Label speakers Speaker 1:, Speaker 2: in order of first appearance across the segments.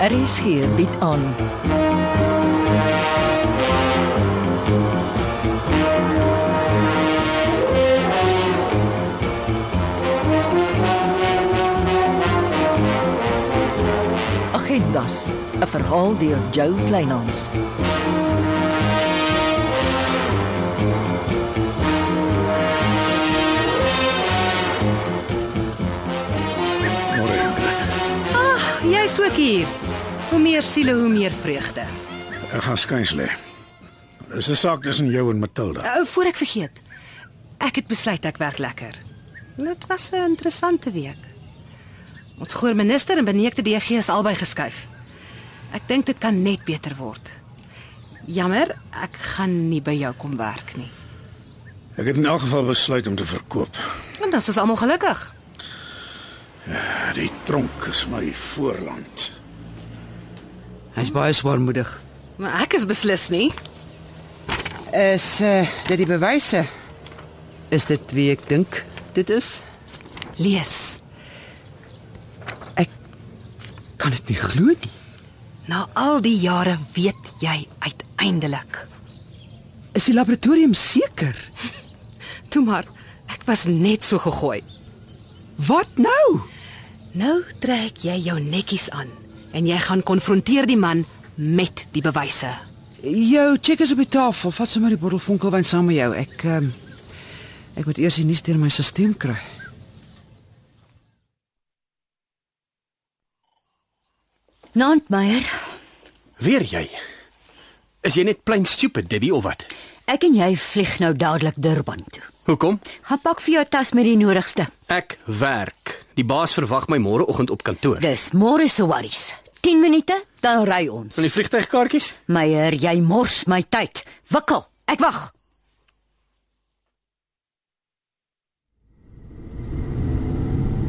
Speaker 1: RSG bied aan. Agendas, 'n verhaal deur Jo Kleinhans.
Speaker 2: Môre, Ingrid.
Speaker 3: Jy's ook hier. Hoe meer siele, hoe meer vreugde.
Speaker 2: Ek gaan skuins lê. Dis 'n saak tussen jou en Matilda.
Speaker 3: Uh, voor ek vergeet. Ek het besluit ek werk lekker. Dit was 'n interessante week. Ons goeieminister en beneekte DG is albei geskuif. Ek dink dit kan net beter word. Jammer, ek gaan nie by jou kom werk nie.
Speaker 2: Ek het in elk geval besluit om te verkoop.
Speaker 3: En dan is ons almal gelukkig.
Speaker 2: Die tronk is my voorland.
Speaker 4: Hy's baie swaarmoedig.
Speaker 3: Maar ek is beslis nie.
Speaker 4: Is eh uh, dit die bewyse? Is dit wie ek dink dit is?
Speaker 3: Lees.
Speaker 4: Kan dit nie glo nie.
Speaker 3: Na al die jare weet jy uiteindelik.
Speaker 4: Is die laboratorium seker?
Speaker 3: Toe maar, ek was net so gegooi.
Speaker 4: Wat nou?
Speaker 3: Nou trek jy jou netjies aan en jy gaan konfronteer die man met die bewyse.
Speaker 4: Jou check is op die tafel. Vat sommer die bottel vonkelwyn saam met jou. Ek ehm ek moet eers die nuus deur my stelsel kry.
Speaker 5: Nant Meyer,
Speaker 6: Weer jy? Is jy net plain stupid, Debbie of wat?
Speaker 5: ek en jy vlieg nou dadelik Durban toe.
Speaker 6: Hoekom?
Speaker 5: Gaan pak vir jou tas met die nodigste.
Speaker 6: Ek werk. Die baas verwag my môreoggend op kantoor.
Speaker 5: Dis môre se worries. 10 minute, dan ry ons.
Speaker 6: Van die vliegtygkaartjies?
Speaker 5: Meyer, jy mors my tyd. Wikkel, ek wag.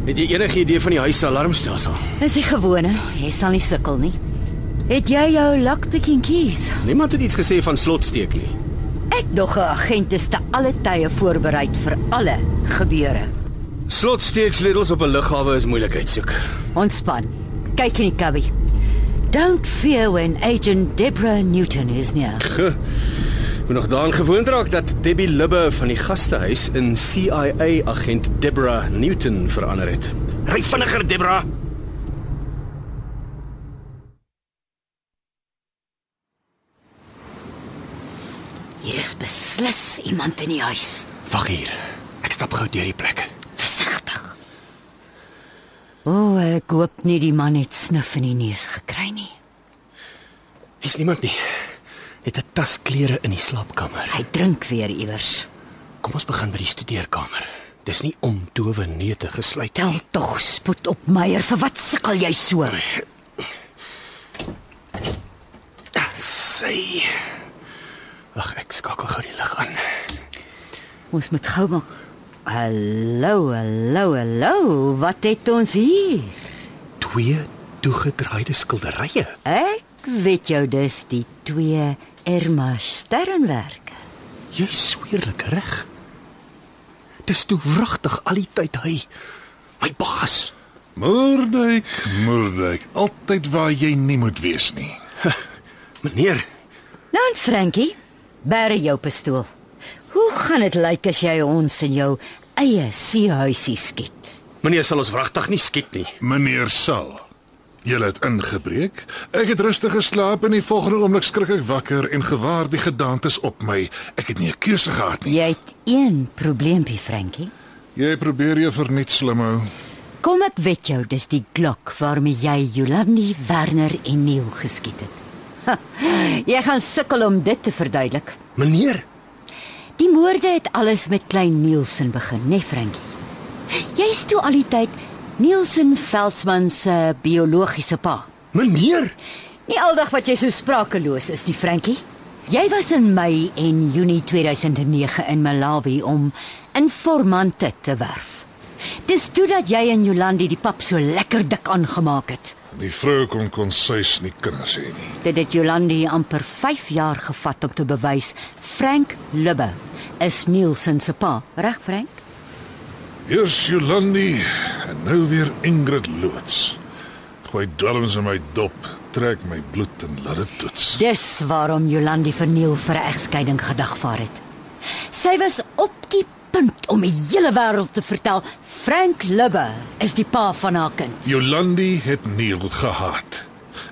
Speaker 6: Het jy enige idee van die huis se alarmstelsel?
Speaker 5: Dis die gewone, jy sal nie sukkel nie. Het jy jou lockpicking keys?
Speaker 6: Niemand het iets gesê van slotsteek nie.
Speaker 5: Ek dog 'n agent is te alle tye voorberei vir alle gebeure.
Speaker 6: Slotsteeksledels op 'n lughawe is moeilikheid soek.
Speaker 5: Ontspan. Kyk in die kabbie. Don't fear when agent Deborah Newton is near.
Speaker 6: Moet nog daaraan gewoond raak dat Debbie Libbe van die gastehuis in CIA agent Deborah Newton verander het. Ry vinniger, Deborah.
Speaker 5: Hier is beslis iemand in die huis.
Speaker 6: Wag hier. Ek stap gou deur die plek.
Speaker 5: Versigtig. O, oh, ek hoop nie die man het snuf in die neus gekry nie.
Speaker 6: Hier's niemand nie. Het 'n tas klere in die slaapkamer.
Speaker 5: Hy drink weer iewers.
Speaker 6: Kom ons begin by die studeerkamer. Dis nie om towe neute gesluit
Speaker 5: Tel tog spoed op, Meyer, vir wat sukkel jy so?
Speaker 6: Sy. Ag, ek skakel gou die lig aan.
Speaker 5: Ons moet gou maak. Hallo, hallo, hallo. Wat het ons hier?
Speaker 6: Twee toegedraaide skilderye.
Speaker 5: Ek weet jou dis die twee Irma Sternwerke.
Speaker 6: Jy sweerlik reg. Dis toe wragtig al die tyd hy. My baas.
Speaker 7: Moordwyk, Moordwyk, altyd waar jy nie moet wees nie.
Speaker 6: Meneer,
Speaker 5: Nou, en Frankie, bære jou pistool. Hoe gaan dit lyk as jy ons in jou eie seehuisie skiet?
Speaker 6: meneer sal ons wragtig nie skiet nie.
Speaker 7: Meneer Sal, jy het ingebreek. Ek het rustig geslaap en die volgende oomblik skrik ek wakker en gewaar die gedaantes op my. Ek het nie 'n keuse gehad nie.
Speaker 5: Jy het een probleempie, Frankie.
Speaker 7: Jy probeer jou verniet slimhou.
Speaker 5: Kom ek weet jou, dis die Glock waarmee jy Jolandi, Werner en Neil geskiet het. Ha, jy gaan sukkel om dit te verduidelik.
Speaker 6: Meneer,
Speaker 5: Die moorde het alles met klein Nielsen begin, né, nee, Frankie? Jy's toe al die tyd Nielsen Veldsmann se biologiese pa.
Speaker 6: meneer,
Speaker 5: Nie aldag wat jy so sprakeloos is nie, Frankie. Jy was in Mei en Junie 2009 in Malawi om informante te werf. Dis toe dat jy en Jolandi die pap so lekker dik aangemaak het.
Speaker 7: Die vrou kon konsuis nie kinders hê nie.
Speaker 5: Dit het Jolandi amper 5 jaar gevat om te bewys Frank Lubbe is Nielsen se pa. Reg, Frank?
Speaker 7: Eers Jolandi en nou weer Ingrid Loots. My dwelms in my dop trek my bloed en laat dit toets.
Speaker 5: Dis waarom Jolandi verniel vir 'n egskeiding gedagvaar het. Sy was op die punt om die hele wêreld te vertel Frank Lubbe is die pa van haar kind.
Speaker 7: Jolandi het Neil gehaat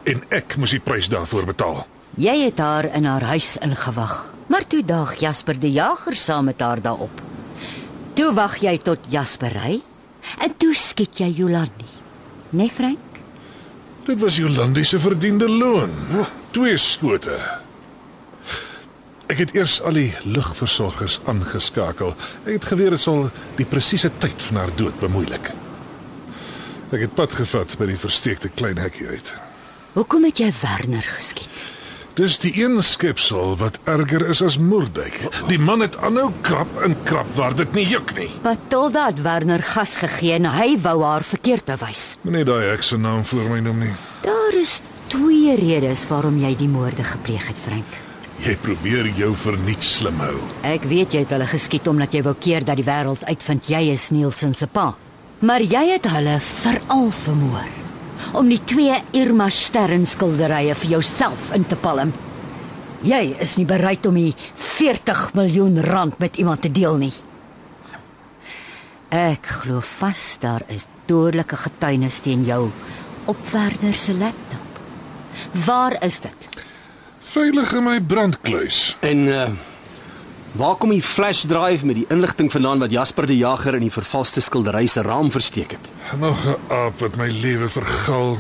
Speaker 7: en ek moes die prys daarvoor betaal.
Speaker 5: Jy het haar in haar huis ingewag, maar toe daag Jasper die Jager saam met haar daarop. Toe wag jy tot Jasper ry en toe skiet jy Jolandi. Nee Frank?
Speaker 7: Dit was Jolandi se verdiende loon. Twee skote. Ek het eers al die lugversorgers aangeskakel. Ek het geweet dit sal die presiese tyd van haar dood bemoeilik. Ek het pad gevat by die versteekte klein hekkie uit.
Speaker 5: Hoekom het jy Werner geskiet?
Speaker 7: Dis die een skepsel wat erger is as Moerdijk. Die man het aanhou krap en krap waar dit nie juk nie.
Speaker 5: Patilda het Werner gas gegee en hy wou haar verkeerd bewys.
Speaker 7: Moenie daai hek se naam voor my noem nie.
Speaker 5: Daar is twee redes waarom jy die moorde gepleeg het, Frank.
Speaker 7: Jy probeer jou verniet slim hou.
Speaker 5: Ek weet jy het hulle geskiet omdat jy wou keer dat die wêreld uitvind jy is Nielsen se pa. Maar jy het hulle veral vermoor om die twee Irma Stern skilderye vir jouself in te palm. Jy is nie bereid om die 40 miljoen rand met iemand te deel nie. Ek glo vas daar is dodelike getuienis teen jou op Werner se laptop. Waar is dit?
Speaker 7: Veilig in my brandkluis.
Speaker 6: En uh waar kom die flash drive met die inligting vandaan wat Jasper die Jager in die vervalste skildery se raam versteek het?
Speaker 7: Nog 'n aap wat my lewe vergal.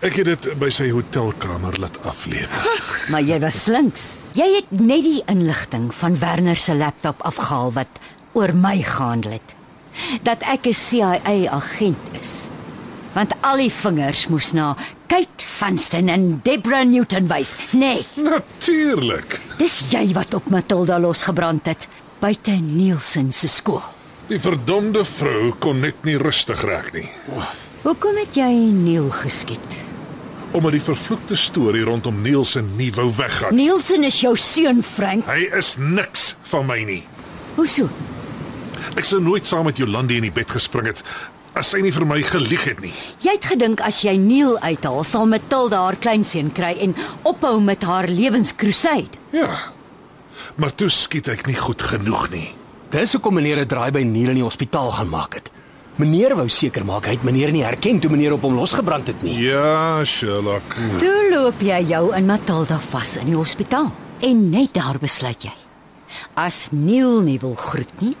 Speaker 7: Ek het dit by sy hotelkamer laat aflewer.
Speaker 5: Maar jy was slinks. Jy het net die inligting van Werner se laptop afgehaal wat oor my gehandel het. Dat ek 'n CIA agent is. Want al die vingers moes na Kate Vanston en Deborah Newton wys. Nee,
Speaker 7: Natuurlik.
Speaker 5: dis jy wat op Matilda losgebrand het buite Nielsen se skool.
Speaker 7: Die verdomde vrou kon net nie rustig raak nie.
Speaker 5: Hoekom het jy Neil geskiet?
Speaker 7: Omdat die vervloekte storie rondom Nielsen nie wou weggaan.
Speaker 5: Nielsen is jou seun, Frank.
Speaker 7: Hy is niks van my nie.
Speaker 5: Hoeso?
Speaker 7: Ek sou nooit saam met Jolandi in die bed gespring het as sy nie vir my gelieg het nie.
Speaker 5: Jy het gedink as jy Neil uithaal, sal Matilda haar kleinseun kry en ophou met haar lewenskruisyd.
Speaker 7: Ja. Maar toe skiet ek nie goed genoeg nie.
Speaker 6: Dis hoekom meneer 'n draai by Neil in die hospitaal gaan maak het. Meneer wou seker maak hy het meneer nie herken toe meneer op hom losgebrand het nie.
Speaker 7: Ja, Sherlock.
Speaker 5: Toe loop jy jou in Matilda vas in die hospitaal en net daar besluit jy. As Neil nie wil groet nie,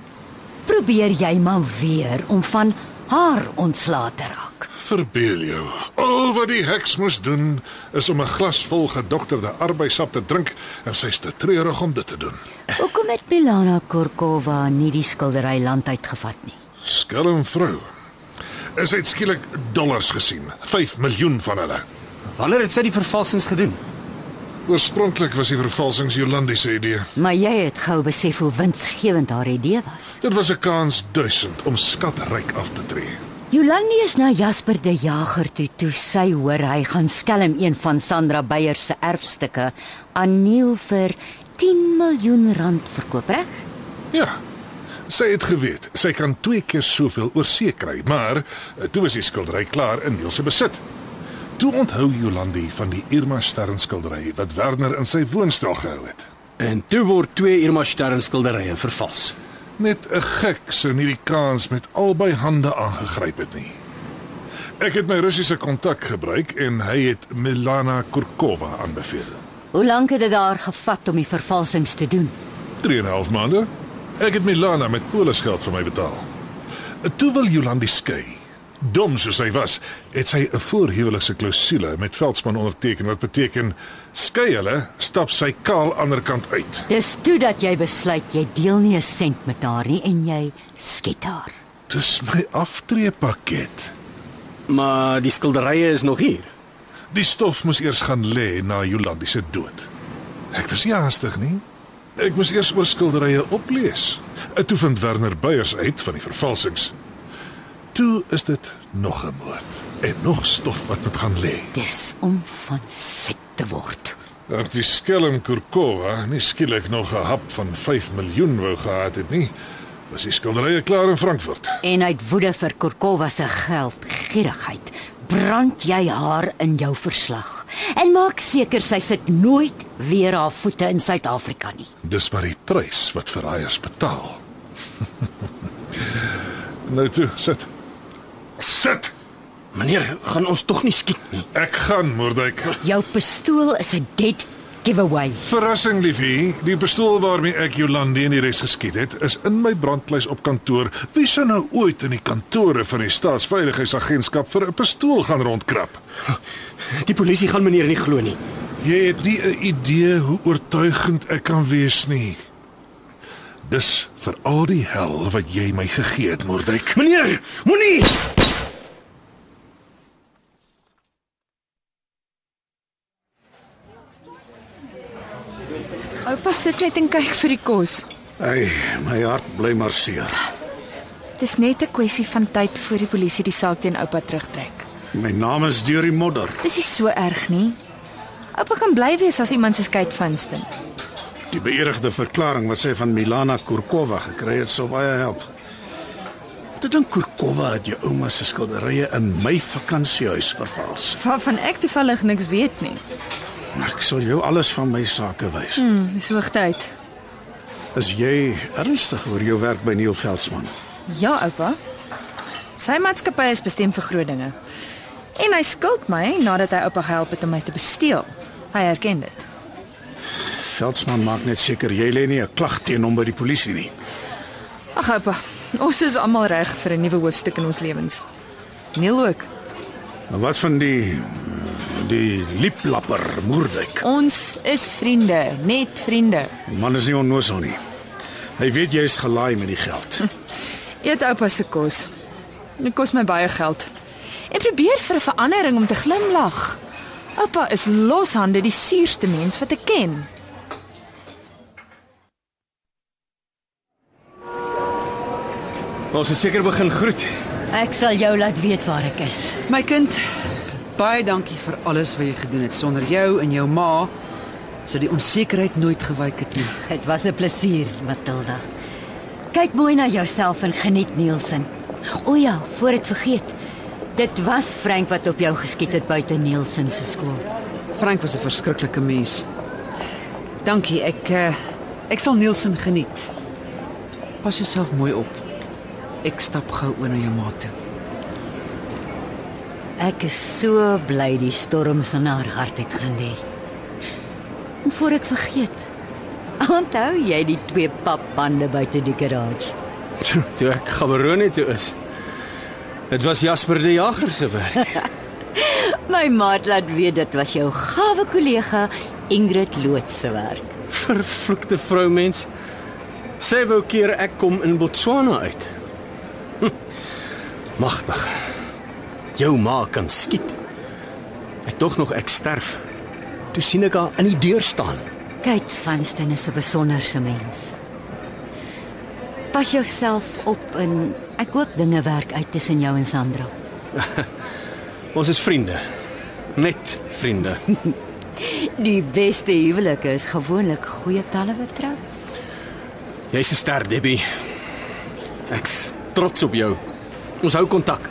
Speaker 5: probeer jy maar weer om van haar ontslae te raak.
Speaker 7: Verbeel jou, al wat die heks moes doen is om 'n glas vol gedokterde arbeidsap te drink en sy's te treurig om dit te doen.
Speaker 5: Hoekom het Milana Korkova nie die skildery land uitgevat nie?
Speaker 7: Skelm vrou. Is hy skielik dollars gesien? 5 miljoen van hulle.
Speaker 6: Wanneer het sy die vervalsings gedoen?
Speaker 7: Oorspronklik was die vervalsings Jolandi se idee.
Speaker 5: Maar jy het gou besef hoe winsgewend haar idee was.
Speaker 7: Dit was 'n kans duisend om skatryk af te tree.
Speaker 5: Jolandi is na Jasper die Jager toe toe sy hoor hy gaan skelm een van Sandra Beyer se erfstukke aan Neil vir 10 miljoen rand verkoop, reg?
Speaker 7: Ja. Sy het geweet sy kan twee keer soveel oor see kry, maar eh, toe was die skildery klaar in Neil se besit. Toe onthou Jolandi van die Irma Stern skildery wat Werner in sy woonstel gehou het.
Speaker 6: En toe word twee Irma Stern skilderye vervals.
Speaker 7: Net 'n gek sou nie die kans met albei hande aangegryp het nie. Ek het my Russiese kontak gebruik en hy het Milana Kurkova aanbeveel.
Speaker 5: Hoe lank het dit daar gevat om die vervalsings te doen?
Speaker 7: 3 en 'n half maande. Ek het Milana met polisgeld vir my betaal. Toe wil Jolandi skei. Dom soos sy was, het sy 'n voorhuwelikse klousule met Veldsmann onderteken wat beteken skei hulle, stap sy kaal ander kant uit.
Speaker 5: Dis toe dat jy besluit jy deel nie 'n sent met haar nie en jy skiet haar.
Speaker 7: Dis my aftreepakket.
Speaker 6: Maar die skilderye is nog hier.
Speaker 7: Die stof moes eers gaan lê na Jolandi se dood. Ek was nie haastig nie. Ek moes eers oor skilderye oplees. Ek toe vind Werner Beyers uit van die vervalsings. Toe is dit nog 'n moord en nog stof wat moet gaan lê.
Speaker 5: Dis om van siek te word.
Speaker 7: Dat die skelm Kurkova nie skielik nog 'n hap van 5 miljoen wou gehad het nie, was die skilderye klaar in Frankfurt.
Speaker 5: En uit woede vir Korkova se geld gierigheid brand jy haar in jou verslag en maak seker sy sit nooit weer haar voete in Suid-Afrika nie.
Speaker 7: Dis maar die prys wat verraaiers betaal. nou toe, sit. Sit.
Speaker 6: Meneer, gaan ons tog nie skiet nie.
Speaker 7: Ek gaan, Moordwyk.
Speaker 5: Jou pistool is 'n dead giveaway.
Speaker 7: Verrassing, liefie. Die pistool waarmee ek Jolande en die res geskiet het, is in my brandlys op kantoor. Wie sou nou ooit in die kantore van die Staatsveiligheidsagentskap vir 'n pistool gaan rondkrap?
Speaker 6: Die polisie gaan meneer nie glo nie.
Speaker 7: Jy het nie 'n idee hoe oortuigend ek kan wees nie. Dis vir al die hel wat jy my gegee het, Moordwyk.
Speaker 6: Meneer, moenie.
Speaker 8: Oupa sit net en kyk vir die kos.
Speaker 2: Hey, my hart bly maar seer.
Speaker 8: Dis net 'n kwessie van tyd voor die polisie die saak teen oupa terugtrek.
Speaker 2: My naam is deur die modder.
Speaker 8: Dis nie so erg nie. Oupa kan bly wees as iemand se skei van stem.
Speaker 2: Die beëdigde verklaring wat sy van Milana Kurkova gekry het, sou baie help. Ek dink Kurkova het jou ouma se skilderye in my vakansiehuis vervals.
Speaker 8: Waarvan ek toevallig niks weet nie.
Speaker 2: Ek sal jou alles van my sake wys.
Speaker 8: Hm, dis hoogtyd.
Speaker 2: Is jy ernstig oor jou werk by Neil Veldsmann?
Speaker 8: Ja, oupa. Sy maatskappy is bestem vir groot dinge. En hy skuld my nadat hy oupa gehelp het om my te besteel. Hy erken dit.
Speaker 2: Veldsmann maak net seker jy lê nie 'n klag teen hom by die polisie nie.
Speaker 8: Ag oupa, ons is almal reg vir 'n nuwe hoofstuk in ons lewens. Neil ook.
Speaker 2: Maar wat van die die lieplapper Moerdijk?
Speaker 8: Ons is vriende, net vriende.
Speaker 2: Die man is nie onnosel nie. Hy weet jy is gelaai met die geld.
Speaker 8: Eet oupa se kos. Dit kos my baie geld. Ek probeer vir 'n verandering om te glimlag. Oupa is loshande die suurste mens wat ek ken.
Speaker 6: Ons het seker begin groet.
Speaker 5: Ek sal jou laat weet waar ek is.
Speaker 4: My kind, baie dankie vir alles wat jy gedoen het. Sonder jou en jou ma sou die onsekerheid nooit gewyk het nie.
Speaker 5: Dit was 'n plesier, Matilda. Kyk mooi na jouself en geniet Nielsen. O ja, voor ek vergeet. Dit was Frank wat op jou geskiet het buite Nielsen se skool.
Speaker 4: Frank was 'n verskriklike mens. Dankie. Ek eh, ek sal Nielsen geniet. Pas jouself mooi op. Ek stap gou oor na jou ma toe.
Speaker 5: Ek is so bly die storms in haar hart het gaan lê. En voor ek vergeet, onthou jy die twee papbande buite die garage?
Speaker 6: Toe, toe ek Gaborone toe is. Dit was Jasper die Jager se werk.
Speaker 5: My maat laat weet dit was jou gawe kollega Ingrid Loots se werk.
Speaker 6: Vervloekte vroumens. Sy wou keer ek kom in Botswana uit. Hm, Magtig. Jou ma kan skiet. Ek dog nog ek sterf. Toe sien ek haar in die deur staan.
Speaker 5: Kate Vanston is 'n besonderse mens. Pas jouself op en ek hoop dinge werk uit tussen jou en Sandra.
Speaker 6: Ons is vriende. Net vriende.
Speaker 5: Die beste huwelike is gewoonlik goeie pelle wat trou.
Speaker 6: Jy's 'n ster, Debbie. Ek's trots op jou. Ons hou kontak.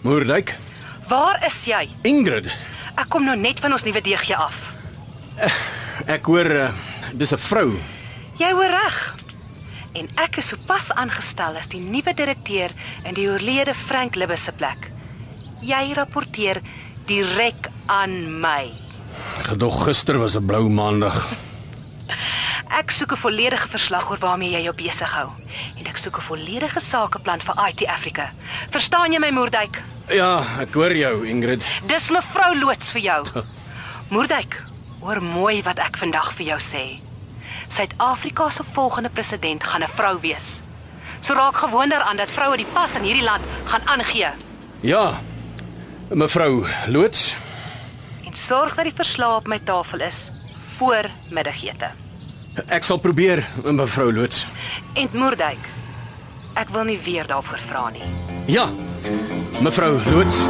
Speaker 6: Moerdijk,
Speaker 3: Waar is jy?
Speaker 6: Ingrid.
Speaker 3: Ek kom nou net van ons nuwe DG af.
Speaker 6: Ek hoor uh, dis 'n vrou.
Speaker 3: Jy hoor reg. En ek is sopas aangestel as die nuwe direkteur in die oorlede Frank Libbe se plek. Jy rapporteer direk aan my.
Speaker 6: Gedog gister was 'n blou maandag.
Speaker 3: Ek soek 'n volledige verslag oor waarmee jy jou besig hou en ek soek 'n volledige sakeplan vir IT Africa. Verstaan jy my Moerdijk?
Speaker 6: Ja, ek hoor jou, Ingrid.
Speaker 3: Dis mevrou loods vir jou. Moerdijk, hoor mooi wat ek vandag vir jou sê. Suid-Afrika se volgende president gaan 'n vrou wees. So raak gewoond daaraan dat vroue die pas in hierdie land gaan aangee
Speaker 6: Ja. Mevrou Loots,
Speaker 3: en sorg dat die verslae op my tafel is voor middagete.
Speaker 6: ek sal probeer, mevrou Loots.
Speaker 3: En Moerdijk, ek wil nie weer daarvoor vra nie.
Speaker 6: Ja. Mevrou Loots.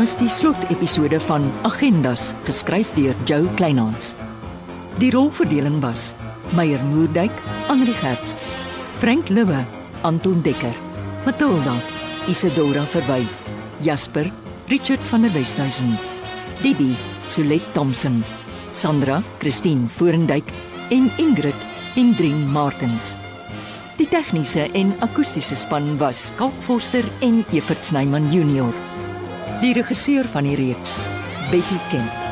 Speaker 8: was die slotepisode van Agendas, geskryf deur Jo Kleinhans. Die rolverdeling was: Meyer Moerdijk, Anri Gerbst, Frank Libbe, Anton Dekker, Matilda, Isidora Verwy, Jasper, Richard van der Westhuizen, Bibi, Solet Thompson, Sandra, Christine Forendyk en Ingrid Hendrin Martens. Die tegniese en akoestiese span was Kalk Forster en Evert Snyman Junior. Die regisseur van die reeks, Betty Kemp.